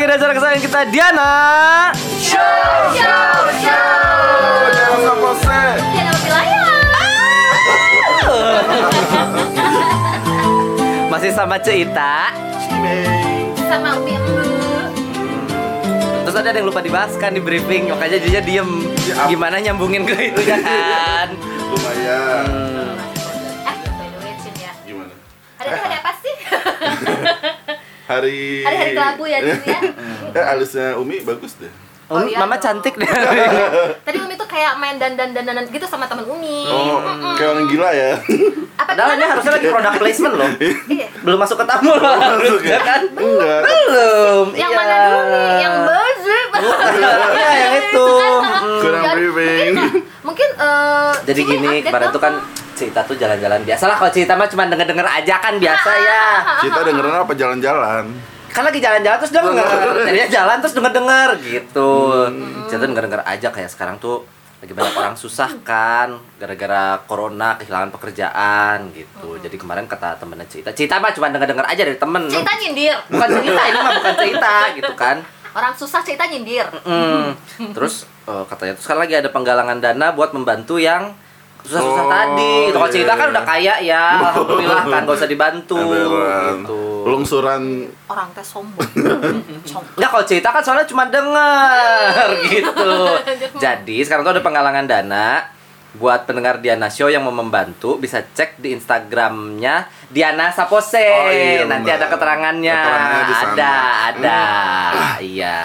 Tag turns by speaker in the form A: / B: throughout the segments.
A: dari acara kesayangan kita Diana. Masih sama Cita.
B: Sama Umi Embul.
A: Terus ada yang lupa dibahas kan di briefing, makanya jadinya diem.
C: Iya.
A: Gimana nyambungin ke itu kan?
C: Lumayan.
A: Hmm.
B: Eh, by the way, Cin ya.
C: Gimana?
B: Hari ini hari apa sih?
C: Hari
B: Hari hari kelabu ya, Cin ya.
C: Eh, alisnya Umi bagus deh.
B: Oh, iya
A: Mama
B: dong.
A: cantik deh.
B: Tadi Umi tuh kayak main dandan dandanan gitu sama temen Umi.
C: Oh, kayak orang gila ya.
B: Apa
A: Padahal ini
B: gimana?
A: harusnya lagi product placement loh.
B: Iya.
A: Belum masuk ke tamu loh.
C: iya.
A: harusnya kan?
C: Enggak.
A: Belum.
B: Yang
A: iya.
B: mana dulu nih? Yang kan, buzzer.
A: Iya, yang itu.
C: Kurang
B: Dan
C: briefing.
B: mungkin- Mungkin eh,
A: Jadi
B: Cini
A: gini,
B: update
A: kemarin
B: dong.
A: tuh kan cerita tuh jalan-jalan biasa lah. Kalau cerita mah cuma denger-denger aja kan biasa
B: Ah,
A: ya.
C: Kita dengerin apa jalan-jalan?
A: Kan lagi jalan-jalan terus denger. Jadinya jalan terus denger-denger gitu.
C: Hmm.
A: Cerita denger-denger aja kayak sekarang tuh lagi banyak orang susah kan gara-gara corona kehilangan pekerjaan gitu. Jadi kemarin kata temennya cerita, cerita mah cuma denger-denger aja dari temen.
B: Cerita nyindir.
A: Bukan cerita ini mah bukan cerita gitu kan.
B: Orang susah cerita nyindir.
A: Hmm. Terus eh, katanya terus sekarang lagi ada penggalangan dana buat membantu yang susah-susah
C: Oh,
A: tadi. Gitu. Kalau
C: iya,
A: cerita kan
C: iya.
A: udah kaya ya, alhamdulillah kan gak usah dibantu.
C: Emang.
A: Gitu.
C: Lungsuran
B: Orang teh sombong. Sombong.
A: Nggak kalau cerita kan soalnya cuma denger gitu. Jadi sekarang tuh ada penggalangan dana buat pendengar Diana Show yang mau membantu bisa cek di Instagramnya Diana Sapose.
C: Oh, iya,
A: Nanti ada
C: benar.
A: keterangannya.
C: Keterangannya di sana. Hmm.
A: ada, ada. Iya.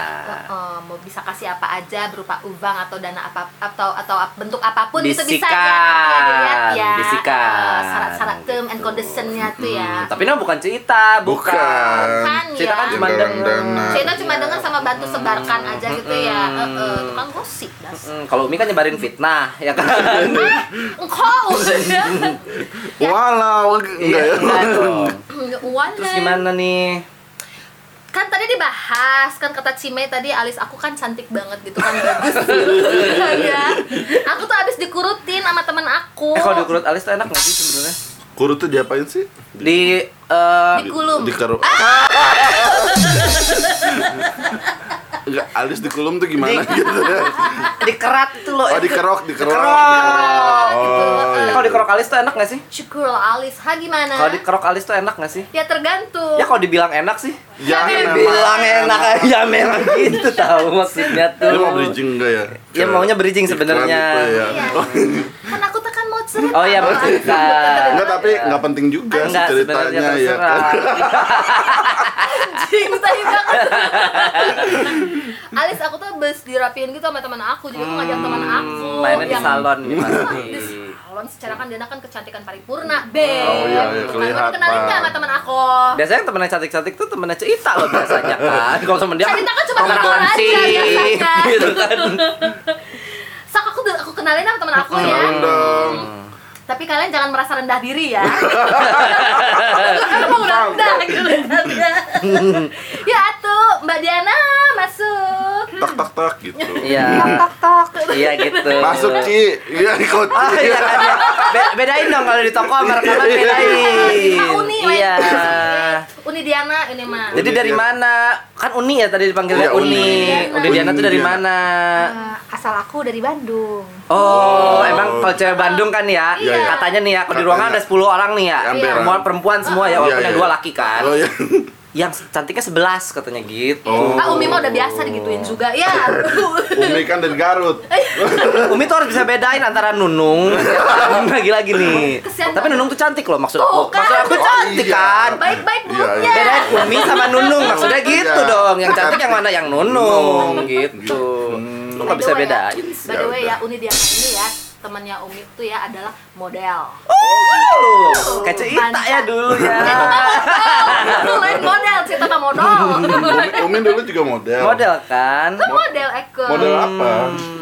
B: Eh, mau bisa kasih apa aja berupa uang atau dana apa atau atau bentuk apapun itu bisa ya
A: Bisikan,
B: dilihat ya
A: bisikan.
B: Eh, syarat-syarat term and
A: Gitu.
B: conditionnya tuh ya
A: Hmm, tapi ini mah bukan cerita, bukan.
C: bukan.
B: Kan
A: Cerita
B: ya.
A: kan cuma
C: Jenderal
A: denger.
C: dana.
B: Cerita cuma
A: ya.
B: dengar sama bantu
A: Hmm,
B: sebarkan aja gitu ya. Heeh, tukang gosip das. Ah,
A: Hmm, kalau Umi kan nyebarin fitnah, ya kan?
B: Engkau. ya.
C: Walau enggak ya.
A: Iya,
B: Iya,
A: Enggak dong.
B: Wan,
A: Terus gimana nih?
B: Kan tadi dibahas kan kata Cime tadi alis aku kan cantik banget gitu kan bagus. ya. Aku tuh abis dikurutin sama teman aku.
A: Eh kalau dikurut alis tuh enak nggak sih sebenarnya?
C: Kurut tuh diapain sih?
A: Di eh
B: Dikulum.
C: Dikeruk.
B: Ah!
C: Enggak, alis dikulum tuh gimana
A: Di-
C: gitu ya?
A: dikerat tuh loh.
C: Oh, dikerok, dikerok.
A: Dikerok.
B: gitu.
C: Oh,
A: Eh,
C: iya.
A: kalau dikerok alis tuh enak nggak sih?
B: Syukurlah alis. Ha gimana?
A: Kalau dikerok alis tuh enak nggak sih?
B: Ya tergantung.
A: Ya kalau dibilang enak sih.
C: Ya,
B: Tapi
C: memang.
A: Bilang enak aja memang gitu tahu maksudnya tuh.
C: Dia mau bridging enggak ya?
A: Ya,
C: Ke
A: Iya. maunya bridging
C: iklan
A: sebenarnya.
C: itu ya.
B: Iya.
C: Oh,
B: Kan aku tuh kan mau cerita.
A: Oh iya, mau
B: Mas.
A: cerita.
C: Enggak, tapi enggak penting juga sih
A: Enggak sebenarnya
C: ceritanya ya.
A: terserah.
B: Anjing, tai banget. Alis aku tuh bes dirapiin gitu sama teman aku. Jadi aku ngajak teman aku
A: Hmm, mainnya di salon nih pasti.
B: di salon secara kan dia kan kecantikan paripurna, Beb.
C: Oh, iya,
B: Gitu kan.
C: iya,
B: Kamu
C: kelihatan.
B: kenalin nggak sama teman aku?
A: Biasanya yang temennya cantik-cantik tuh temennya Cita loh biasanya kan. Kalau temen dia
B: Cita kan cuma
A: orang
B: temen aja
A: sih,
B: biasanya.
A: gitu kan.
B: Sak aku aku kenalin sama teman aku ya.
A: Hmm.
C: Kenalin dong.
B: Tapi kalian jangan merasa rendah diri ya. Karena mau rendah gitu. ya atuh, Mbak Diana masuk.
C: Tak tak tak gitu.
A: Iya. Iya gitu.
C: Masuk Ci. Iya ikut.
A: Ah, iya kan ya. Be- bedain dong kalau di toko sama rekaman
C: Iya.
A: bedain.
B: Ah, Uni, Wen.
A: Iya.
B: Uni Diana ini mah.
A: Jadi dari mana? Kan Uni ya tadi dipanggilnya
C: ya. Iya,
A: Uni.
C: Uni.
A: Uni Diana tuh dari
C: Uni Diana.
A: mana?
B: Eh, asal aku dari Bandung.
A: Oh,
C: Oh.
A: emang kalau cewek Bandung kan ya,
C: Iya, iya.
A: katanya nih ya, kalau di
C: Katanya.
A: ruangan ada 10 orang nih ya,
C: Ya, emperan.
A: semua perempuan semua ya, walaupun
C: Iya,
A: ada
C: iya.
A: dua laki kan.
C: Oh iya.
A: Yang cantiknya 11 katanya gitu.
C: Oh.
B: Ah Umi mah udah biasa digituin juga ya.
C: Umi kan dari Garut.
A: Umi tuh harus bisa bedain antara Nunung lagi-lagi nih.
B: Kesian
A: Tapi
B: banget.
A: Nunung tuh cantik loh maksud
B: Tuh,
A: aku.
B: kan?
A: Maksud aku
B: Oh,
A: cantik
C: iya.
A: kan.
B: Baik-baik
C: Iya, iya.
B: mulutnya.
A: Bedain Umi sama Nunung maksudnya gitu
C: Iya.
A: dong. Yang cantik yang mana yang Nunung
C: Nunung. Hmm.
A: gitu. Lu nggak
B: By the
A: bisa
B: way ya,
A: bedain.
B: By the way ya, Uni Diana ini ya temannya Umi tuh ya adalah model.
A: Oh, kayak cerita ya dulu ya.
C: Ah.
B: Model, lain model, cerita sama model.
C: Umi, Umi dulu juga model.
A: Model Hmm. kan.
B: model Eko.
C: Model apa?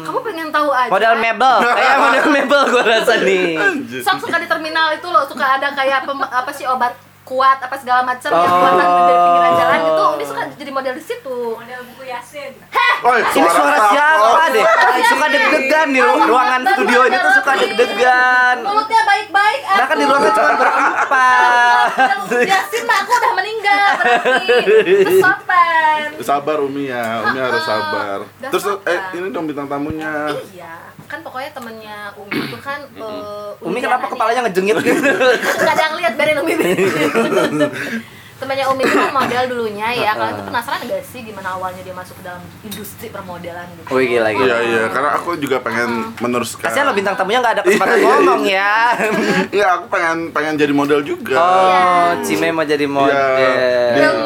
B: Kamu pengen tahu aja.
A: Model mebel. Kayak model mebel gua rasa nih.
B: Sok suka di terminal itu loh, suka ada kayak pem- apa sih obat kuat apa segala macam yang
A: Oh.
B: buatan dari pinggiran jalan gitu. Dia suka jadi model di situ.
D: model buku ya. Yasin.
C: Oi,
A: Ini suara siapa deh? Suka deg-degan di ru- ruangan studio ini tuh suka deg-degan.
B: Mulutnya baik-baik.
A: Nah kan di ruangan cuma berempat.
B: Yasin mah aku udah meninggal berarti. Terus sopan. kan
C: Sabar Umi ya, Umi harus
B: Ha-ha.
C: sabar.
B: Udah
C: Terus eh
B: sabar.
C: ini dong bintang tamunya.
B: iya kan pokoknya temennya Umi itu kan eh,
A: Umi
B: Umi
A: kenapa
B: Janani.
A: kepalanya ngejengit gitu?
B: kadang lihat badan Umi temannya Umi itu kan model dulunya ya kalian tuh penasaran gak sih gimana awalnya dia masuk ke dalam industri permodelan gitu
A: Wih, gila, gila.
C: Iya iya, karena aku juga pengen meneruskan.
A: Kasihan lo bintang tamunya nggak ada kesempatan
C: Iya, iya, iya.
A: ngomong ya.
C: Iya, aku pengen pengen jadi model juga.
A: Oh, Cime mau jadi model.
C: Iya. Dia-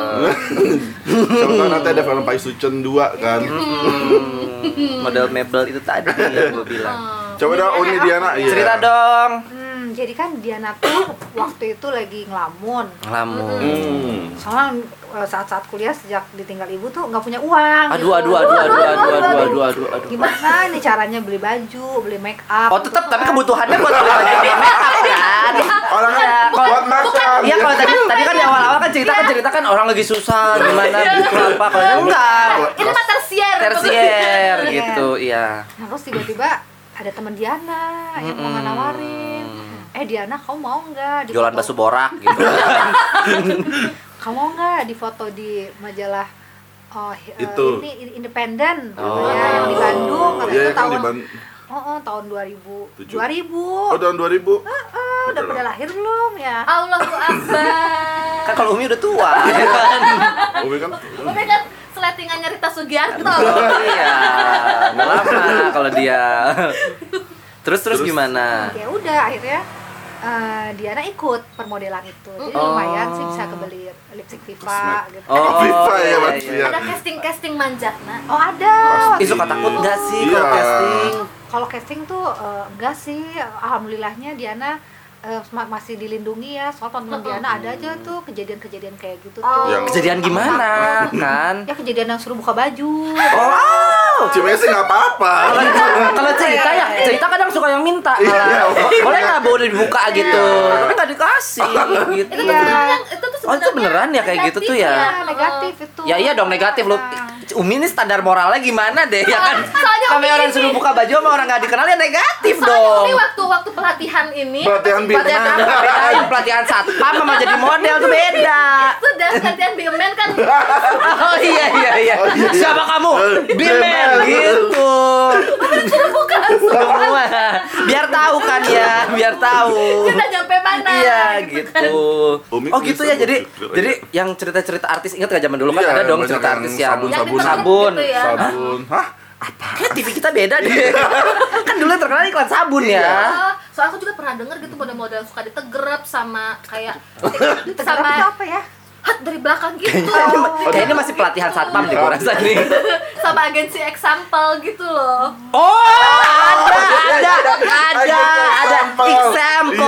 C: Siapa tahu nanti ada film Pai Sucen 2 kan.
A: Hmm, model mebel itu tadi yang gue bilang.
B: Hmm.
C: Coba dong Uni Diana. iya.
A: Cerita dong.
D: Hmm, jadi kan Diana tuh waktu itu lagi ngelamun.
A: Ngelamun.
C: Hmm.
D: Soalnya eh, saat-saat kuliah sejak ditinggal ibu tuh nggak punya uang.
A: Aduh,
D: gitu.
A: aduh, aduh, aduh, aduh, aduh, aduh, aduh, aduh.
D: Gimana nih caranya beli baju, beli make up?
A: Oh, tetap tapi kebutuhannya buat beli baju di make up kan.
C: Orang kan buat makan.
A: Iya kalau tadi tadi kan di awal-awal kan cerita kan cerita kan orang lagi susah gimana gitu apa kalau ini enggak
B: ini mah tersier
A: tersier
D: Iya.
A: gitu iya
D: Nah, terus tiba-tiba ada teman Diana yang mau
A: Mm-mm.
D: nawarin. Eh Diana, kamu mau nggak? di
A: Hmm. jualan
D: foto-
A: basu borak gitu
D: Kamu mau nggak di foto di majalah Oh, eh,
C: Itu.
D: ini ini independen gitu
A: Oh.
D: ya, yang di Bandung
C: Iya,
D: katanya
C: Iya, kan
D: tahun
C: di Bandung.
D: oh, oh, tahun 2000
C: Tujuh.
D: 2000
C: Oh, tahun 2000.
D: Ah, Eh, udah pada lahir belum ya?
B: Allahu Akbar
A: kan kalau Umi udah tua ya kan
C: Umi kan
B: Umi kan seletingannya Rita Sugiarto
A: iya nggak lama kalau dia terus terus
C: Terus?
A: gimana
D: Ya udah akhirnya eh, Diana ikut permodelan itu. Jadi
A: Oh.
D: lumayan sih bisa kebeli lipstick Viva gitu.
A: Oh,
C: Viva
A: iya,
C: ya, Mas.
A: iya.
C: Iya.
B: ada casting casting manjana
D: Oh ada.
A: Ih, suka takut nggak sih kalau
C: Iya.
A: casting
D: Kalau casting tuh eh, enggak sih. Alhamdulillahnya Diana eh, ma- masih dilindungi ya. Soal teman Diana ada aja tuh kejadian-kejadian kayak gitu tuh.
B: Oh.
C: Yang-
A: kejadian gimana kan
D: Ya kejadian yang suruh buka baju.
A: oh
C: Cime sih nggak apa-apa.
A: kalau cerita ya
B: Iya.
A: cerita kadang suka yang minta
C: Iya,
A: malah.
C: makanya.
A: boleh nggak boleh dibuka gitu tapi nggak dikasih gitu
B: Iya. Oh, itu tuh sebenarnya itu tuh
A: Oh, itu
B: sebenarnya
A: beneran ya kayak gitu tuh ya?
B: negatif
D: Ya, negatif itu. Nah.
A: Ya iya dong negatif lu. Umi ini standar moralnya gimana deh ya kan?
B: Iya. Soalnya
A: Sampai
B: Umi
A: orang
B: ini-
A: suruh buka baju sama orang gak dikenal ya negatif
B: Soalnya
A: dong.
B: Umi waktu waktu pelatihan ini
C: Pelatihan
B: apa sih?
A: Pelatihan apa? Bedain pelatihan satpam sama jadi model tuh beda.
B: sudah pelatihan biomen kan
A: Oh iya iya iya. Oh, Siapa kamu? Bimen gitu. Semua. Biar tahu kan ya, biar tahu.
B: kita nyampe mana
A: Iya
B: kan.
A: gitu.
C: Umi
A: Oh gitu
C: bisa
A: ya. Jadi
C: wujud.
A: jadi yang cerita-cerita artis ingat gak zaman dulu kan
C: Iya,
A: ada dong
C: banyak
A: cerita
C: yang
A: artis yang
C: sabun-sabunan.
A: sabun.
B: Gitu ya.
C: Sabun. Hah?
A: Kayak TV kita beda
C: Iya.
A: deh. kan dulu yang terkenal iklan sabun ya.
B: Oh, soalnya aku juga pernah denger gitu model-model suka ditegrep sama kayak
D: Tegar itu
B: sama
D: apa ya?
B: hat dari belakang gitu
C: Iya.
A: Kayaknya masih pelatihan satpam deh gue rasa nih.
B: sama agensi example gitu loh
A: Oh, ada,
C: Iya,
A: ada, ada, ada
C: Example.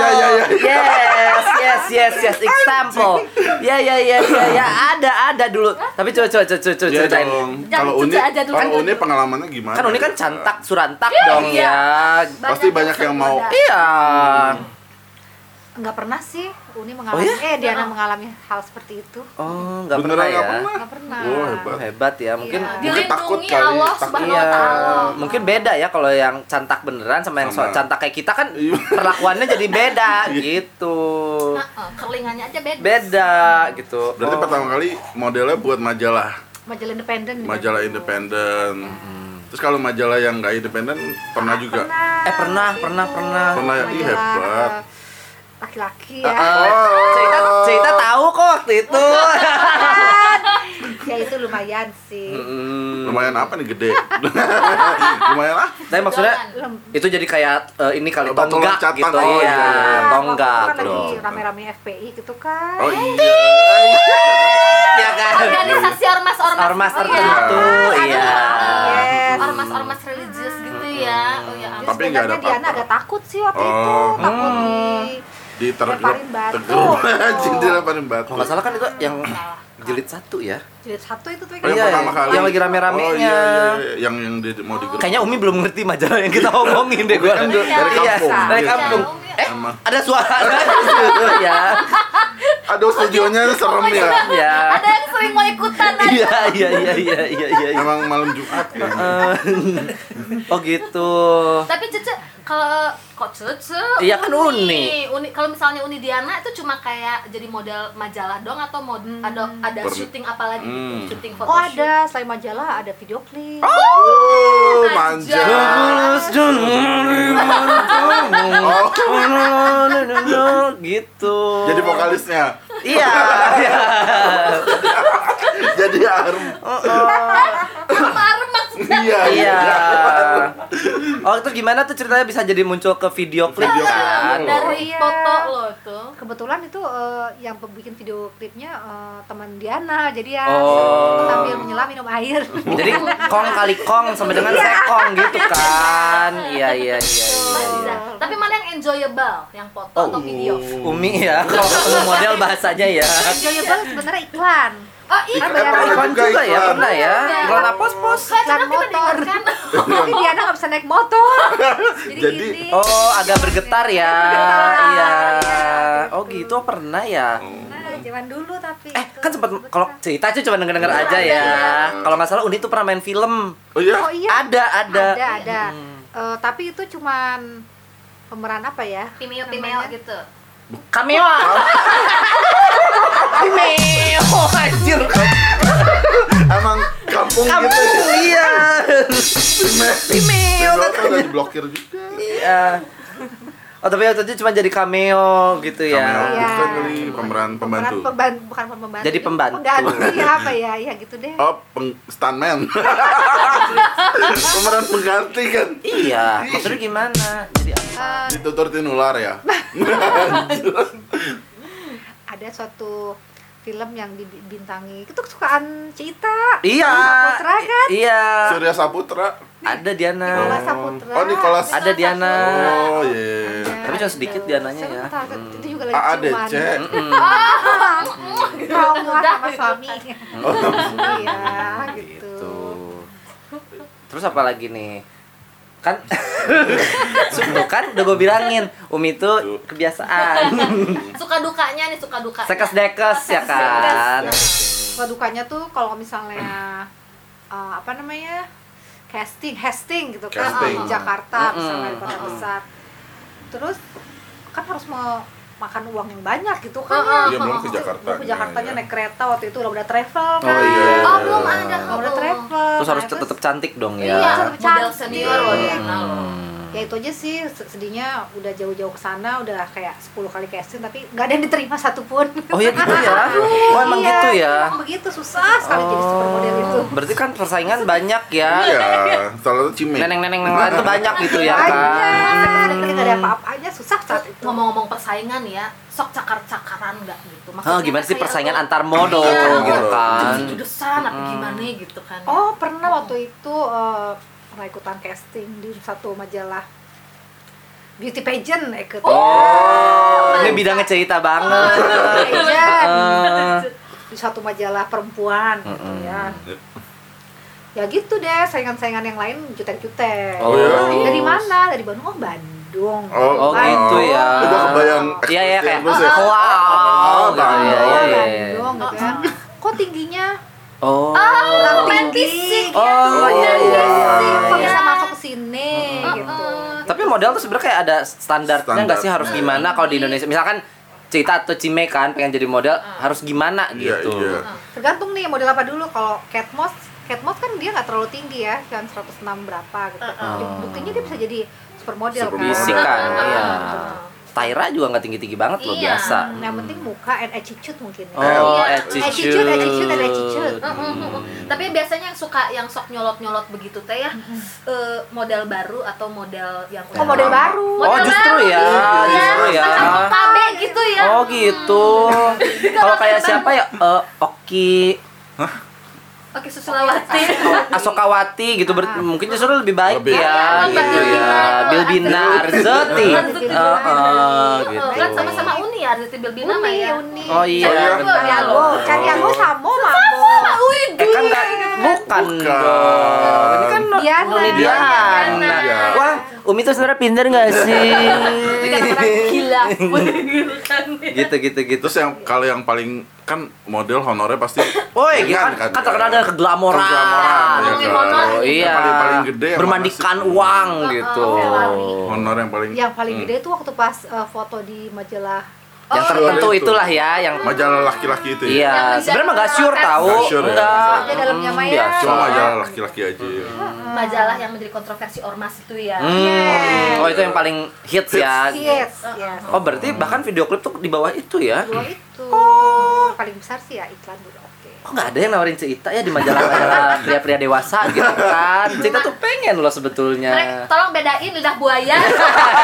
A: example.
C: Iya, iya, iya.
A: Yes, yes, yes, yes, example. Ya, ya, ya, ya, ya, ada, ada dulu. Tapi coba, coba, coba, coba,
C: Iya
A: ceritain.
C: dong.
B: Jangan
C: Kalau
B: cuci
C: Uni,
B: aja dulu.
C: kalau Uni pengalamannya gimana?
A: Kan Uni kan cantak, surantak dong
B: iya.
A: ya.
C: Pasti banyak yang mau.
B: tergoda.
A: Iya.
C: Hmm.
D: Enggak pernah sih. Uni
A: Oh,
D: mengalami
A: ya?
D: eh Diana mengalami hal seperti itu.
A: Oh, nggak pernah
C: Beneran nggak
A: ya.
C: pernah?
D: Nggak pernah.
C: Wah,
A: Oh,
C: hebat.
A: Hebat ya, mungkin
D: Iya.
C: Mungkin takut
B: Dilindungi
C: kali,
B: Allah
C: takut.
B: subhanahu wa
A: Iya,
B: ta'ala
A: mungkin beda ya kalau yang cantak beneran sama yang so-
C: Sama.
A: cantak kayak kita kan
C: Iya.
A: perlakuannya jadi beda gitu.
B: Nah, eh, kerlingannya aja beda
A: Beda gitu.
C: Berarti
A: Oh.
C: pertama kali modelnya buat majalah,
D: Majalah independen.
C: majalah
D: gitu.
C: independen. Terus kalau majalah yang nggak independen pernah juga.
D: Pernah.
A: Eh, pernah,
D: waktu
A: pernah,
D: itu.
A: pernah.
C: Pernah ya? Ih,
D: Majalah,
C: hebat.
D: eh,
A: Eh,
D: Laki-laki ya.
C: Oh.
A: eh, cerita cerita tahu kok waktu itu.
D: ya itu lumayan sih.
A: Hmm.
C: Lumayan apa nih gede? Lumayan lah.
A: Tapi maksudnya
B: kan.
D: Lem-
A: itu jadi kayak eh, ini kali
C: Batu
A: tonggak
C: loncatan.
A: gitu.
C: Oh,
A: iya,
C: iya, iya.
A: tonggak
D: Waktu itu kan
A: loh.
D: lagi rame-rame FPI gitu kan.
C: Oh iya.
A: Iya kan?
B: organisasi ormas ormas
A: Ormas
B: Oh, iya.
A: tertentu, iya.
D: Yes.
B: ormas ormas religius gitu
A: Hmm.
B: ya oh ya ampun.
C: Tapi nggak ada
D: Sebenarnya Diana
C: apa-apa.
D: agak takut sih waktu itu,
C: Oh.
D: takut di
C: Di tergrep,
D: Lemparin batu.
C: tergrep. Jadi lemparin batu.
A: Kalau nggak salah kan itu yang jilid satu ya.
D: jilid satu itu tuh
C: Oh, Yang
A: Iya,
C: pertama
A: yang-
C: kali.
A: yang lagi rame-ramenya.
C: Oh, iya, iya, iya. yang yang di- mau digeruk.
A: Oh. Kayaknya Umi belum ngerti majalah yang kita omongin deh gua.
C: Kan dari
B: Iya.
A: Iya,
C: kampung.
A: dari
C: Iya.
A: kampung.
B: Iya.
A: Eh,
C: Emang.
A: ada suara ya.
C: Aduh studionya serem ya.
A: Ya.
B: Ada yang sering mau ikutan aja.
A: Iya iya iya iya iya iya.
C: Emang malam Jumat
A: Eh.
C: kan.
A: Oh gitu.
B: Tapi Cece kalau kok Cece?
A: Iya, kan Uni.
B: Uni kalau misalnya Uni Diana itu cuma kayak jadi model majalah dong atau mod ada ada
C: Per-
B: syuting apa lagi? gitu?
A: Hmm.
B: Syuting foto
D: Oh ada, selain majalah ada video klip.
C: Oh, manja.
A: Tulus dan menerima gitu.
C: Oh. Jadi vokalisnya.
A: Iya. iya.
C: Jadi Arm.
B: Marem maksudnya.
C: Iya.
A: Iya. Oh itu gimana tuh ceritanya bisa jadi muncul ke video klip
C: Video klip.
A: kan?
B: Dari
D: Oh, iya.
B: foto lo tuh.
D: Kebetulan itu eh, yang bikin video klipnya eh, teman Diana, jadi ya
A: Oh.
D: sambil menyelam minum air.
A: Jadi kong kali kong sama dengan sekong gitu kan? Iya iya iya. iya, iya.
B: Nah,
D: Oh.
B: Tapi mana yang enjoyable? Yang foto atau
A: Oh.
B: video?
C: Iya.
A: Umi ya, kalau ketemu model bahasanya ya.
D: Enjoyable sebenarnya iklan.
B: Oh iya.
D: Apa ya?
A: Iklan juga ya, pernah ya.
B: Iya.
A: Iklan apa pos?
B: Saya
D: Iklan
B: kadang tiba
D: motor.
B: diingatkan.
D: Jadi Diana nggak bisa naik motor. Jadi,
C: Jadi-
D: ini.
A: Oh, agak bergetar ya.
D: Bergetar,
A: Iya.
D: iya,
A: Oh gitu, oh, pernah ya.
D: Nah, zaman dulu tapi.
A: Eh,
D: itu
A: kan sempat
D: kebetulan.
A: kalau cerita aja cuma denger-denger aja ya. Kalau nggak salah Uni tuh pernah main film.
C: Oh iya.
D: Oh iya.
A: Ada, ada. Hmm.
D: Ada, ada. Eh, tapi itu cuman pemeran apa ya?
B: Pimeo pimeo
D: Namanya?
B: gitu.
A: Cameo. Cameo anjir.
C: Emang kampung
A: Kamu
C: gitu.
A: iya.
C: Email kan udah diblokir juga.
A: Iya. Oh tapi waktu itu cuma jadi cameo gitu
C: Cameo.
A: ya.
D: Iya.
C: Bukan kali, pemeran pembantu.
D: Pemeran pemban- bukan pembantu.
A: Jadi pembantu.
D: Pengganti apa ya? Ya gitu deh.
C: Oh, peng stuntman. Pemeran pengganti kan.
A: Iya. Maksudnya gimana? Jadi
D: Eh,
C: Dituturtin ular ya.
D: ada suatu film yang dibintangi itu kesukaan Cita
A: Iya.
D: Saputra kan
A: Iya.
C: Surya Saputra.
A: Ada Diana.
D: Nicola Saputra
C: Oh, Nicolas.
A: Ada Diana.
C: Oh, iya.
A: Tapi cuma sedikit Diananya ya.
D: itu juga lagi cuman
C: AADC.
A: Hmm.
D: trauma
B: Udah,
D: sama
B: gitu.
D: suami
C: Oh.
D: iya gitu
A: gitu. Terus apa lagi nih? Kan Sumpah kan udah gue bilangin Umi itu kebiasaan
B: Suka dukanya nih, suka dukanya.
A: Sekes dekes ya kan
D: Kalau dukanya tuh kalau misalnya eh, apa namanya casting casting gitu kan
C: Casting.
D: di Jakarta
A: Mm-mm.
D: misalnya di kota
A: Mm-mm.
D: besar terus kan harus mau makan uang yang banyak gitu kan
B: Mm-mm.
D: ya.
B: Iya, belum ke
D: Terus
C: Jakarta.
D: belum ke Jakartanya
C: Iya, iya.
D: naik kereta waktu itu udah udah travel kan
C: Oh, iya.
B: Oh, belum ada.
D: Udah udah travel
A: Terus harus
D: Nah,
A: tetap cantik dong
B: Iya,
A: ya
D: Tetep
B: model
D: cantik.
B: senior loh dia.
A: Hmm.
D: ya itu aja sih se- sedihnya udah jauh-jauh ke sana udah kayak 10 kali casting tapi nggak ada yang diterima satupun
A: Oh ya gitu ya Oh emang
D: Iya,
A: gitu ya
D: emang begitu susah sekali jadi supermodel itu
A: Oh, Berarti kan persaingan banyak ya
C: Iya, salah satu cime.
A: Neneng-neneng yang lain tuh banyak gitu ya kan
D: banyak ketika ada apa-apanya susah saat itu
B: Ngomong-ngomong persaingan ya, sok cakar-cakaran nggak gitu?
A: Oh, gimana sih
B: kayak
A: persaingan
B: lo-
A: antar model
B: Iya,
A: gitu kan
B: judesan apa gimana gitu kan?
D: oh pernah waktu itu eh, pernah ikutan casting di satu majalah beauty pageant ikut
A: Oh, ini bidangnya cerita banget.
D: beauty pageant
A: Eh,
D: di satu majalah perempuan gitu ya ya gitu deh saingan-saingan yang lain jutek-jutek Nah,
A: Oh,
C: iya?
D: dari mana dari Bandung oh Bandung
A: Oh, gitu ya.
C: Udah kebayang.
A: Iya ya kayak
C: ekspresi Ambrose ya?
A: wow.
C: Oh,
A: gitu ya,
D: oh
A: ya, ya, ya.
D: Bandung gitu kan kok tingginya
A: Oh.
D: kurang
B: romantis
D: tinggi
B: sih.
A: Oh iya iya.
D: sih kok
A: iya.
D: bisa masuk ke sini gitu
A: Tapi model tuh sebenarnya kayak ada standarnya
C: Standar.
A: nggak sih harus gimana kalau di Indonesia? Misalkan cerita atau Cime kan pengen jadi model harus gimana
C: Iya,
A: gitu.
C: iya.
D: tergantung nih model apa dulu kalau cat moss cat moss kan dia nggak terlalu tinggi ya kan 106 berapa gitu buktinya dia bisa jadi supermodel kan
C: Supermodel.
A: Fisik kan,
B: Ah.
A: iya. Tyra juga nggak tinggi-tinggi banget loh
B: Iya.
A: biasa.
D: Hmm, yang penting muka and attitude mungkin
A: Oh,
B: Iya.
A: attitude.
D: Attitude, attitude, and attitude.
B: Mm-mm. Tapi biasanya yang suka yang sok nyolot-nyolot begitu teh ya eh, model baru atau model yang Iya,
D: Oh, model baru.
A: Oh, justru ya, justru ya.
B: Macam KB gitu ya.
A: Oh gitu. Kalau kayak siapa ya eh, Oki
B: Oke, Susulawati.
A: Asokawati gitu ber- mungkin justru lebih baik
C: Lebih.
A: ya
B: Iya,
A: gitu
B: Mbak
A: ya
B: Bilbinar.
A: Bilbina Arzetti
D: Arzetti.
A: Heeh,
D: Bilbinar.
A: gitu
B: Kan sama-sama Uni ya, Arzetti Bilbina mah
D: Uni,
B: ya.
D: Uni.
A: oh
B: Cari
A: iya
B: aku,
A: benar
D: Jago, cari aku sama mabo.
B: Sama Uni.
A: eh kan nggak
B: kan?
A: Bukan,
C: Bukan.
A: dong. Ini kan
D: Diana.
A: Nuni
C: Diana.
A: Diana.
C: Diana.
A: Wah, Umi tuh sebenarnya pinter gak sih? eh,
B: Jadi kadang-kadang gila
A: Mm.
B: gitu kan.
A: gitu gitu gitu.
C: Terus yang kalau yang paling kan model honornya pasti
A: Woi,
C: ringan
A: kan, kan terkenal dengan keglamoran.
C: Keglamoran, ya
B: Ngomongin
C: kan?
B: honor.
A: Oh, iya.
C: Yang paling paling gede yang mana
A: bermandikan
C: sih?
A: uang gitu.
D: Ferrari.
C: honor yang paling Hmm.
D: yang paling
A: Hmm.
D: gede itu waktu pas eh, foto di majalah
A: yang
B: Oh,
A: tertentu
C: iya.
A: itulah ya yang
C: majalah laki-laki itu ya.
A: Iya,
B: Yang
A: sebenarnya mah gak
B: dijalankan.
A: sure tahu.
C: Nggak sure ya?
A: Enggak.
D: Aja dalamnya
A: Hmm,
D: Maya.
A: biasa.
C: Cuma majalah laki-laki aja. ya.
B: majalah yang menjadi kontroversi ormas itu ya.
A: Hmm. Oh, itu yang paling hits ya.
D: yes yes
A: Oh, berarti bahkan video klip tuh di bawah itu ya.
D: dua itu paling besar sih ya iklan dulu oke
A: Kok nggak ada yang nawarin cerita ya di majalah-majalah pria-pria dewasa gitu kan? Cerita tuh pengen loh
B: Mereka,
A: sebetulnya.
B: tolong bedain lidah
A: Ya.
B: buaya.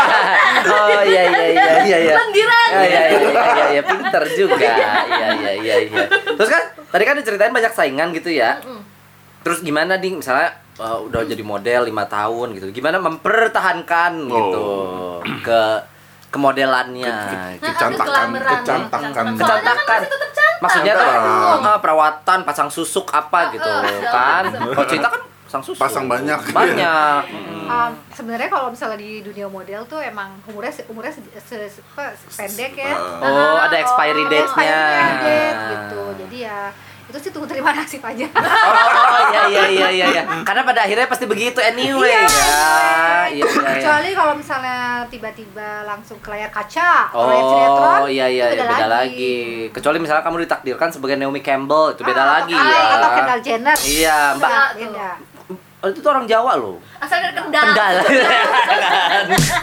A: Oh iya iya iya iya iya.
B: Lendiran.
A: Iya iya iya iya iya pinter juga. Iya iya iya iya. Terus kan tadi kan diceritain banyak saingan gitu ya.
B: Mm-mm. Nah,
A: Terus gimana ding misalnya uh, udah jadi model lima tahun gitu. Gimana
C: Oh.
A: mempertahankan gitu ke kemodelannya. gitu.
B: Nah,
C: Kecantakan,
B: keglameran.
C: kecantakan.
B: Soalnya kan masih tetap cantik.
A: Maksudnya kan
C: Cantik.
A: ah, perawatan, pasang susuk apa
D: Eh,
A: gitu
B: Heeh.
A: kan. Kalau cerita kan pasang susuk.
C: Pasang banyak.
A: Banyak. Mm.
D: Um, sebenarnya kalau misalnya di dunia model tuh emang umurnya se- umurnya se, se- se- apa, pendek ya
C: Ah.
A: Oh, ada expiry
D: Ada
A: date-nya.
D: eh, expiry date gitu jadi ya itu sih tunggu terima nasib aja
A: Oh, iya iya iya iya iya. Karena pada akhirnya pasti begitu anyway. ya. Iya iya. iya.
D: Iya, kecuali kalau misalnya tiba-tiba langsung ke layar kaca kalau layar sinetron,
A: Oh iya iya
D: itu
A: iya, beda lagi. Kecuali misalnya kamu ditakdirkan sebagai Naomi Campbell itu beda
D: Ah,
A: lagi
D: atau,
A: ya.
D: atau Kendall Jenner
A: Iya,
D: Itu
A: Mbak.
D: beda-
B: Mbak.
D: beda.
A: Oh, itu tuh orang Jawa loh.
B: Asal dari kendal.
A: Kendal.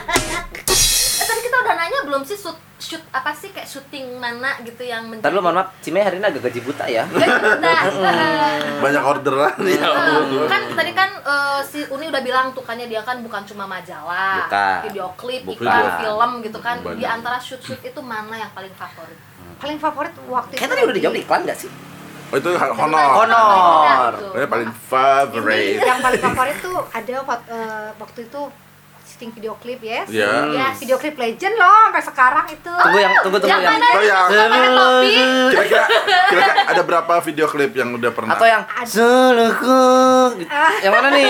B: Eh, tadi kita udah nanya belum sih shoot, shoot apa sih kayak syuting mana gitu yang menjadi
A: Ntar lu mohon maaf, Cime hari ini agak gaji buta ya.
B: Nah, eh,
C: Banyak orderan
A: Iya.
C: ya.
B: eh, kan tadi kan eh, si Uni udah bilang tuh kan ya, dia kan bukan cuma majalah,
A: Bukan.
B: video klip,
A: Bukan.
B: iklan, film gitu kan.
C: Banyak.
B: Di antara shoot-shoot itu mana yang paling favorit?
D: paling favorit waktu
A: Kayak
D: itu
A: tadi udah
D: lagi-
A: dijawab di iklan gak sih?
C: Oh, itu honor.
A: Honor.
C: Ini paling favorite.
D: yang paling favorit tuh ada fot- eh, waktu itu syuting video klip yes
C: Ya.
B: Yes.
D: video klip legend loh sampai sekarang itu
A: Hmm. Tunggu yang tunggu tunggu
B: Yang
A: yang.
B: mana
C: Oh, yang-
B: yang suka pakai topi?
C: Kira-kira kira-kira ada berapa video klip yang udah pernah?
A: Atau yang
D: Ada.
A: suluku. Yang mana nih?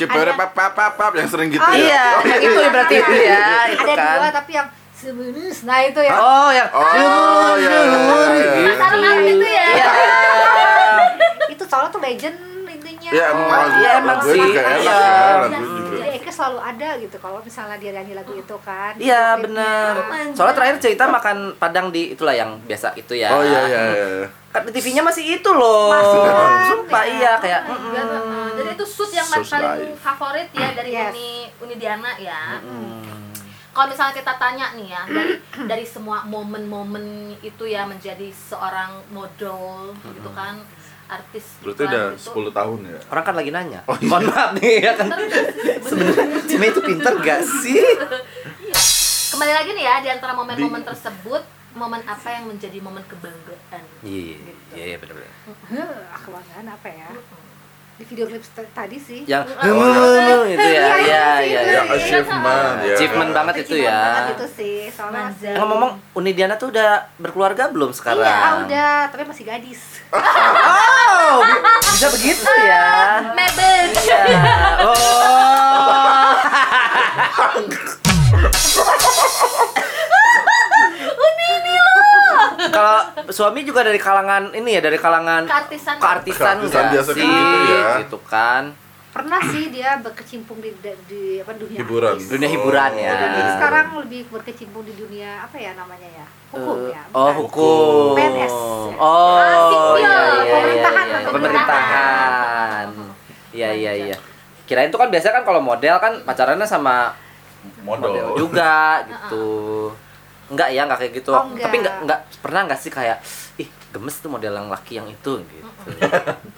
C: Cipere
D: Ada.
C: pap pap pap pap yang sering gitu
D: Oh,
A: Iya,
C: ya. Oh,
A: yang itu ya berarti itu ya, itu
D: ada
A: kan.
D: dua tapi yang sebenus nah itu ya
A: Oh, yang
C: Oh, iya, iya, iya, iya.
B: Saran
A: Gitu.
B: apa gitu ya?
A: Iya.
D: itu soalnya tuh legend intinya
C: Ya, emang
A: Oh,
C: lagu
A: iya, emang
C: lagunya
A: sih.
C: juga enak
A: Iya.
C: ya, lagu juga.
D: jadi Eka selalu ada gitu kalau misalnya dia nyanyi lagu itu kan
A: Iya, kan?
D: Klipnya.
A: benar. Soalnya terakhir cerita makan Padang di itulah yang biasa itu ya.
C: Oh iya iya. iya.
A: Kan di TV-nya masih itu loh.
D: Masih kan,
A: Sumpah
D: ya.
A: iya kayak mm,
B: Enggak, enggak. eh, Jadi itu shoot yang
C: Shoes
B: paling
C: live.
B: favorit ya dari
D: Yes.
B: Uni Uni Diana ya. Kalau misalnya kita tanya nih ya dari dari semua momen-momen itu ya menjadi seorang model gitu kan artis
C: Berarti udah 10 tahun ya.
A: orang kan lagi nanya.
C: iya.
A: Mohon maaf nih ya kan. Sebenarnya Cime itu pinter gak sih?
B: Kembali lagi nih ya di antara momen-momen tersebut momen apa yang menjadi momen kebanggaan?
A: Iya, iya iya benar-benar.
D: Heh, aku banggaan apa ya di video klip t- tadi sih
A: Yang
C: Oh,
A: itu ya. Iya iya iya.
C: Yang achievement ya.
A: Achievement banget itu
D: Kecilan banget
A: ya.
D: itu sih soalnya
B: Manza.
A: Eh, Ngomong-ngomong, Uni Diana tuh udah berkeluarga belum sekarang?
D: iya udah tapi masih gadis
A: Oh, bi- bisa begitu ya.
B: Mebel.
A: Ya, Oh. Kalau suami juga dari kalangan ini ya dari kalangan
B: Keartisan.
A: keartisan
C: Keartisan
A: nggak
C: biasa
A: sih
C: kan gitu ya.
A: gitu kan
D: pernah sih dia berkecimpung di, di, di apa dunia
C: Hiburan. Oh,
D: artis.
A: Dunia hiburan ya.
D: Jadi sekarang lebih berkecimpung di dunia apa ya namanya ya hukum ya
A: oh
D: bukan?
A: hukum
D: PNS.
A: oh
B: Ah, sipil.
A: iya iya iya
D: Pemerintahan,
A: iya.
B: pemerintahan.
A: pemerintahan iya iya iya kirain tuh kan biasanya kan kalau model kan pacarannya sama model
C: Model.
A: juga gitu enggak ya enggak kayak gitu
D: Oh, enggak.
A: tapi enggak enggak pernah enggak sih kayak ih gemes tuh model yang laki yang itu gitu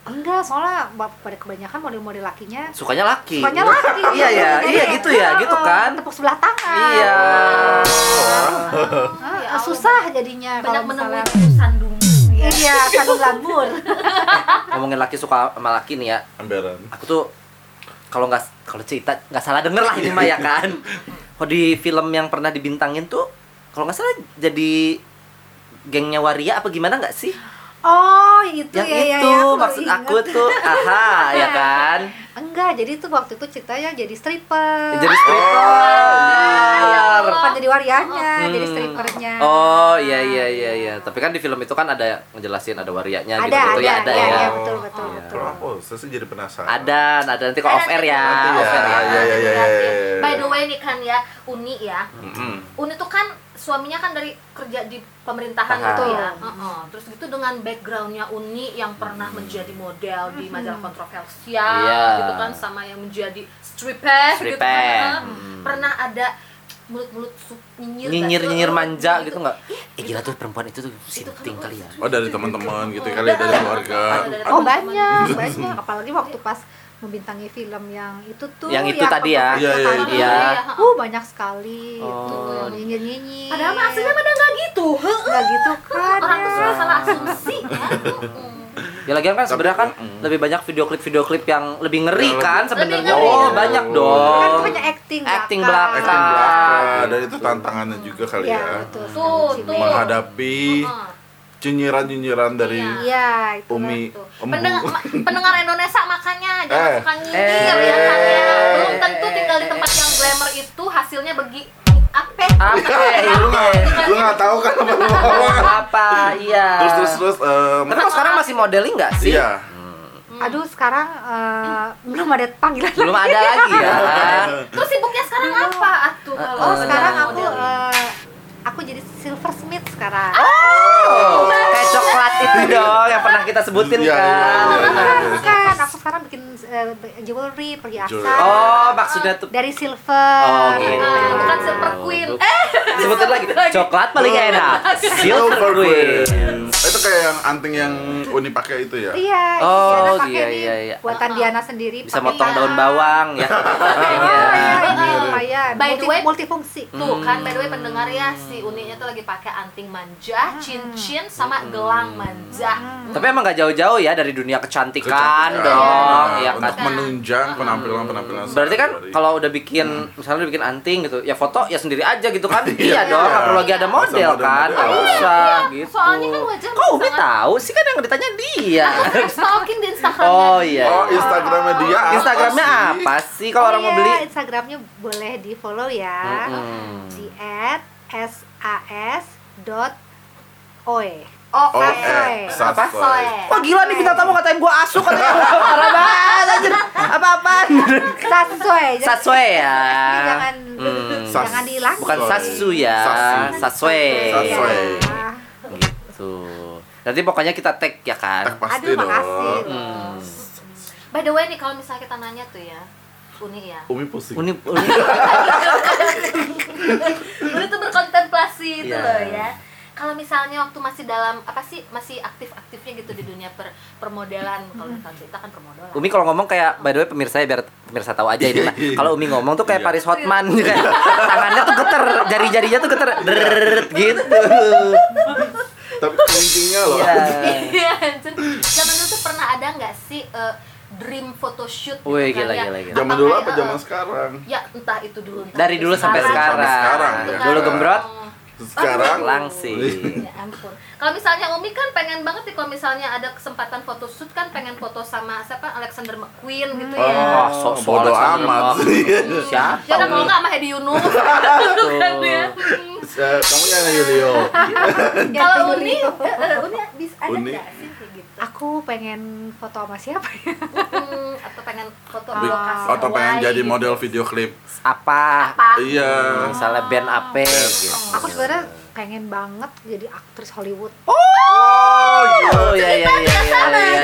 D: enggak soalnya bab- pada kebanyakan model-model lakinya
A: sukanya laki
D: sukanya laki
A: iya ya
D: Jadi
A: iya
D: kayak,
A: gitu ya
D: "Oh,
A: gitu kan
D: tepuk sebelah tangan
A: iya
D: Ah,
B: Ya Allah.
D: susah jadinya
B: Banyak
D: kalau
B: menemui
D: misalnya
B: sandung.
D: iya sandung lambur
A: ngomongin laki suka sama laki nih ya
C: Amberan.
A: aku tuh kalau nggak kalau cerita nggak salah denger lah ini mah ya kan kalau di film yang pernah dibintangin tuh kalau nggak salah jadi gengnya waria apa gimana nggak sih
D: Oh, itu
A: yang
D: ya ya,
A: itu
D: ya. baru
A: maksud
D: ingat.
A: aku tuh aha ya kan
D: Enggak, jadi itu waktu itu ceritanya Ya, jadi stripper. Ah,
A: jadi stripper
D: Bukan jadi warianya, jadi
A: Hmm.
D: stripernya.
A: oh iya iya iya iya tapi kan di film itu kan ada ngejelasin ada warianya
D: Ada,
A: gitu gitu
D: ada,
A: ya ada
D: iya,
A: ya
D: iya, betul, betul,
A: Iya.
D: betul.
C: Kenapa? Saya sih jadi penasaran.
A: ada ada nanti kok
B: Ada
A: off air ya
B: nanti
C: ya.
A: off air ya
C: Iya, iya, iya, iya, iya.
B: By the way nih kan ya, Uni ya.
A: Mm-mm.
B: Uni tuh kan suaminya kan dari kerja di pemerintahan
A: Aha.
B: gitu ya. Heeh. Terus gitu dengan backgroundnya Uni yang pernah menjadi model di majalah kontroversial
A: Iya.
B: gitu kan sama yang menjadi stripper gitu kan.
A: Stripper. Mm.
B: Heeh. Pernah ada mulut-mulut sup- nyinyir nggak
A: nyinyir
B: sih?
A: nyinyir
B: Heeh,
A: manja
D: Iya,
A: gitu nggak eh gila tuh perempuan itu tuh sinting
B: kan-
A: kali ya
C: Oh dari teman-teman gitu
B: Oh,
C: kali ya, dari
B: ada-
C: keluarga.
B: ada dari
D: Oh,
B: teman-teman.
D: banyak, banyak. Apalagi waktu pas membintangi film yang itu tuh
A: Yang itu tadi ya.
C: Iya,
D: kontroversial
C: iya,
D: tadi.
A: iya.
D: Uh, banyak sekali
A: Oh.
D: itu yang nyinyir-nyinyir.
B: Padahal mah aslinya pada nggak gitu. Heeh.
D: Nggak gitu kan.
A: Iya.
B: Orang tuh
D: ya.
B: suka salah asumsi ya. Heeh.
A: ya lagian kan sebenarnya kan
C: Mm.
A: lebih banyak video klip video klip yang lebih ngeri
C: Yang
A: kan
C: lebih- Iya.
A: sebenarnya
B: Lebih ngeri.
A: oh banyak
D: Kan
A: dong
D: banyak acting
A: Oh. Acting
D: belakang.
C: Acting belaka
A: Ah.
C: dan itu tantangannya juga kali
D: Iya,
C: Eh, ya.
D: betul.
B: Tuh,
D: Cilik.
B: tuh.
C: Menghadapi
B: Heeh.
C: nyinyiran-nyinyiran dari
B: Iya.
D: Iya, itu.
C: Umi
B: Tuh.
C: Embu.
B: gitu. Pendengar, ma- pendengar Indonesia makanya jangan
C: Eh.
B: suka nyinyir ya kan ya. Belum tentu tinggal di tempat yang glamour itu hasilnya begi apa?
A: apa
C: Eh, lu nggak lu nggak tahu kan apa lu ngomong.
A: apa iya
C: Terus terus terus. em,
A: Tapi kok sekarang masih modeling nggak sih?
C: Iya.
B: Hmm.
D: Aduh, sekarang eh, belum ada panggilan
A: Belum ada lagi ya.
B: Terus sibuknya sekarang apa atuh
A: Eh,
B: kalau
D: Oh,
B: model?
D: sekarang aku eh, aku jadi silversmith sekarang.
A: Oh, kayak coklat itu dong yang pernah kita sebutin
C: Iya, iya,
A: kan.
C: iya, iya.
D: bukan, bukan. Aku sekarang bikin eh, jewelry, perhiasan.
C: Jewelry.
A: Oh, maksudnya tuh
D: Dari silver. Ah,
A: Oh, oke.
B: Nah, bukan silver queen. Eh,
A: sebutin lagi coklat paling
B: Oh.
A: enak. Silver
C: Silver
A: Queen.
C: Queen. Itu kayak yang anting yang Uni pakai itu ya.
D: Iya,
A: Oh,
D: Diana
A: iya,
D: pakai nih
A: iya, iya.
D: buatan
B: Ah.
D: Diana sendiri.
A: Bisa
D: pakai
A: motong
D: yang-
A: daun bawang ya.
D: Oh, iya, ini
B: Iya.
D: lumayan.
B: By the
D: Multi,
B: way-
D: multifungsi.
A: Hmm.
B: Tuh kan by the way pendengar ya si Uninya tuh lagi pakai anting
A: Hmm.
B: manja, cincin sama gelang manja.
A: Tapi emang nggak jauh-jauh ya dari dunia kecantikan
C: Kecantikan.
A: Kan, dong,
C: Nah,
A: ya kan.
C: Untuk menunjang penampilan-penampilan.
A: Berarti kan
C: sehari-hari.
A: kalau udah bikin misalnya udah bikin anting gitu, ya foto ya sendiri aja gitu kan.
C: Iya.
A: Iya dong, nggak perlu lagi ada
C: Nggak usah
A: model
C: model-model.
A: kan. Nggak
C: Iya,
A: usah gitu.
B: Soalnya kan wajah
A: Kok Umi
B: sangat- Iya.
A: tahu sih kan yang ditanya dia.
B: Aku sering stalking di Instagramnya.
A: Oh iya.
C: Oh, Instagramnya dia apa
A: Instagramnya
C: sih?
A: apa sih kalau orang
D: Oh,
A: mau
D: iya,
A: beli? Hmm.
D: Instagramnya boleh di follow ya.
A: Mm-mm.
D: Di at sas dot oe.
B: Oh,
C: Oh,
B: eh.
C: eh,
D: Soy.
B: Apa soy?
C: Sasoy.
A: Wah gila nih bintang tamu katain gua asu katanya parah banget anjir. Apa-apaan?
D: Sasoy. Jadi-
A: Saswe ya.
D: jangan
A: Hmm.
C: Sas-
D: jangan dihilangin.
A: Bukan
C: Soy.
A: sasu ya.
C: Sasu.
A: Saswe.
C: Saswe.
D: Ya.
A: Gitu. Nanti pokoknya kita tag ya kan.
C: pasti
D: Aduh,
C: dong.
D: makasih.
A: Hmm.
B: By the way nih kalau misalnya kita nanya tuh ya, Uni ya.
C: Umi pusing.
A: Uni, uni.
B: Uni tuh berkontemplasi itu
A: Iya.
B: loh ya. Kalau misalnya waktu masih dalam apa sih masih aktif-aktifnya gitu di dunia per permodelan kalau misalnya kita kan permodelan.
A: Umi kalau ngomong kayak by the way pemirsa ya biar pemirsa tahu aja ini. Nah, Kalau Umi ngomong tuh kayak
C: Iya.
A: Paris Hotman gitu. kayak Tangannya tuh geter, jari-jarinya tuh geter. Drrrrt, gitu.
C: Tapi kuncinya loh.
A: Iya.
B: Iya, anjir. Zaman dulu tuh pernah ada nggak sih eh, dream photoshoot gitu
A: Wih,
B: kan
A: gila,
B: ya?
A: gila, gila.
C: Zaman dulu apa
B: kayak,
C: zaman
B: eh,
C: sekarang?
B: Ya entah itu dulu entah
A: Dari
B: itu
A: dulu sampai sekarang.
C: Sampai sekarang, ya.
A: Dulu gembrot,
C: Sekarang
A: langsing.
B: Ya ampun. Kalau misalnya Umi kan pengen banget nih kalau misalnya ada kesempatan foto shoot kan pengen foto sama siapa Alexander McQueen gitu ya.
A: Oh,
C: Oh,
A: so- so
C: bodo
A: Alexander
C: amat.
A: Wang. Siapa?
B: Ya udah kalau
A: Umi?
B: nggak sama Hedi Yunus gitu kan ya. Hmm.
C: Eh, Kamu yang Yulio.
B: Kalau Uni, eh, eh, Uni bisa ada
C: Uni.
B: nggak sih kayak gitu?
D: Aku pengen foto sama siapa ya?
B: Hmm, atau pengen foto
D: Bi-
B: lokasi
C: Atau Oh, pengen
B: Hawaii
C: jadi
B: gitu.
C: model video klip.
A: Apa?
B: Apa?
C: Iya.
A: misalnya band apa gitu.
B: iya,
D: Aku sebenarnya pengen banget jadi aktris Hollywood.
A: Oh ya ya ya ya ya. ya.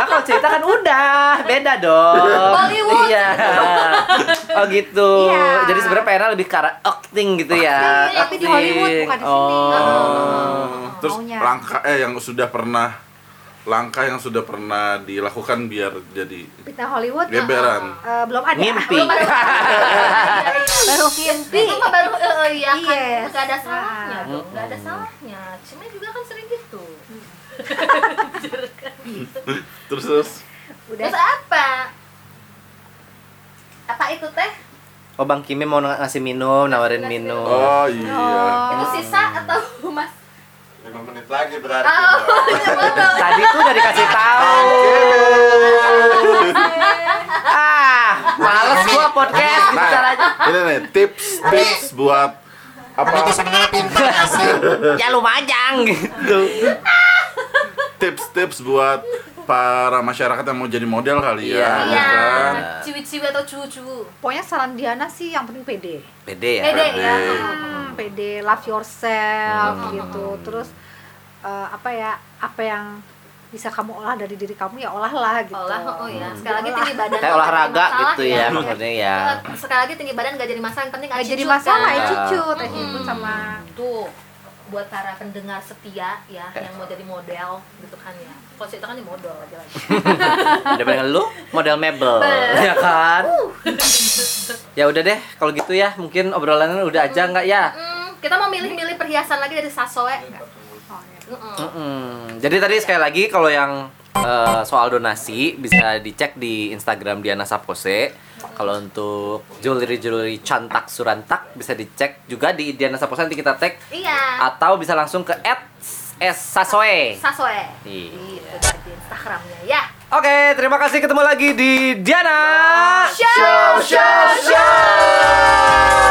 A: Nah, kalau cerita kan udah, beda dong.
B: Bollywood.
A: Iya. Oh gitu.
D: Iya.
A: Jadi sebenarnya pengennya lebih ke arah acting gitu ya.
D: Acting, tapi di Hollywood, bukan di sini. Oh,
A: Oh.
C: Terus
D: Maunya.
C: langkah eh yang sudah pernah langkah yang sudah pernah dilakukan biar jadi
D: Fitnah Hollywood
C: geberan.
D: eh, belum ada.
A: Mimpi.
D: Baru mimpi.
B: Itu mah baru eh, eh, iya kan
D: Yes.
B: nggak ada salahnya
D: Nah.
B: dong, nggak ada salahnya. Cime juga kan sering gitu.
C: Terus terus
D: Udah.
B: Terus apa? Apa itu teh?
A: Oh Bang Kimi mau ng- ngasih minum, nawarin minum.
C: Oh iya.
B: Itu sisa atau mas?
E: lima menit lagi berarti.
B: Oh, iya betul.
A: Tadi tuh udah dikasih tahu. ah, males gua podcast gitu
C: Nah,
A: bicaranya.
C: ini nih tips tips buat
E: Kamu tuh
C: apa
E: sebenarnya pintar gak sih?
A: Ya lumajang gitu.
C: tips tips buat para masyarakat yang mau jadi model kali ya,
A: Iya.
C: ya
B: Iya,
C: kan?
B: ciwi-ciwi atau cucu.
D: Pokoknya saran Diana sih yang penting pede.
A: Pede ya.
B: Pede ya.
C: Pede.
D: Hmm, pede, love yourself gitu. Terus eh, apa ya? Apa yang bisa kamu olah dari diri kamu ya olahlah gitu.
B: Olah, oh ya. Sekali lagi
D: Olah.
B: tinggi badan.
A: Kayak
B: nggak
A: olahraga
B: jadi masalah
A: gitu ya maksudnya ya.
B: Eh, Sekali lagi tinggi badan gak jadi masalah, yang penting
D: Nggak
B: aci
D: jadi
B: cut,
D: masalah
B: kan?
D: ya
A: Iya.
D: cucut, ya cucut sama
B: Tuh, buat para pendengar setia ya yang mau jadi model gitu kan ya. Kalau cerita kan di modal aja lagi.
A: Daripada lu model mebel, ya kan? ya udah deh, kalau gitu ya mungkin obrolannya udah aja nggak ya?
B: Hmm, kita mau milih-milih perhiasan lagi dari Sasoe. nggak? Mm-mm.
A: Mm-mm. Jadi tadi sekali lagi kalau yang eh, soal donasi bisa dicek di Instagram Diana Sapose. Kalau untuk jewelry-jewelry cantak surantak bisa dicek juga di Diana Sapose nanti kita tag
B: Iya.
A: atau bisa langsung ke @sasoe.
B: Sasoe.
A: Iya.
B: Gitu di Instagramnya ya.
A: Oke, terima kasih ketemu lagi di Diana
B: Show, show, show.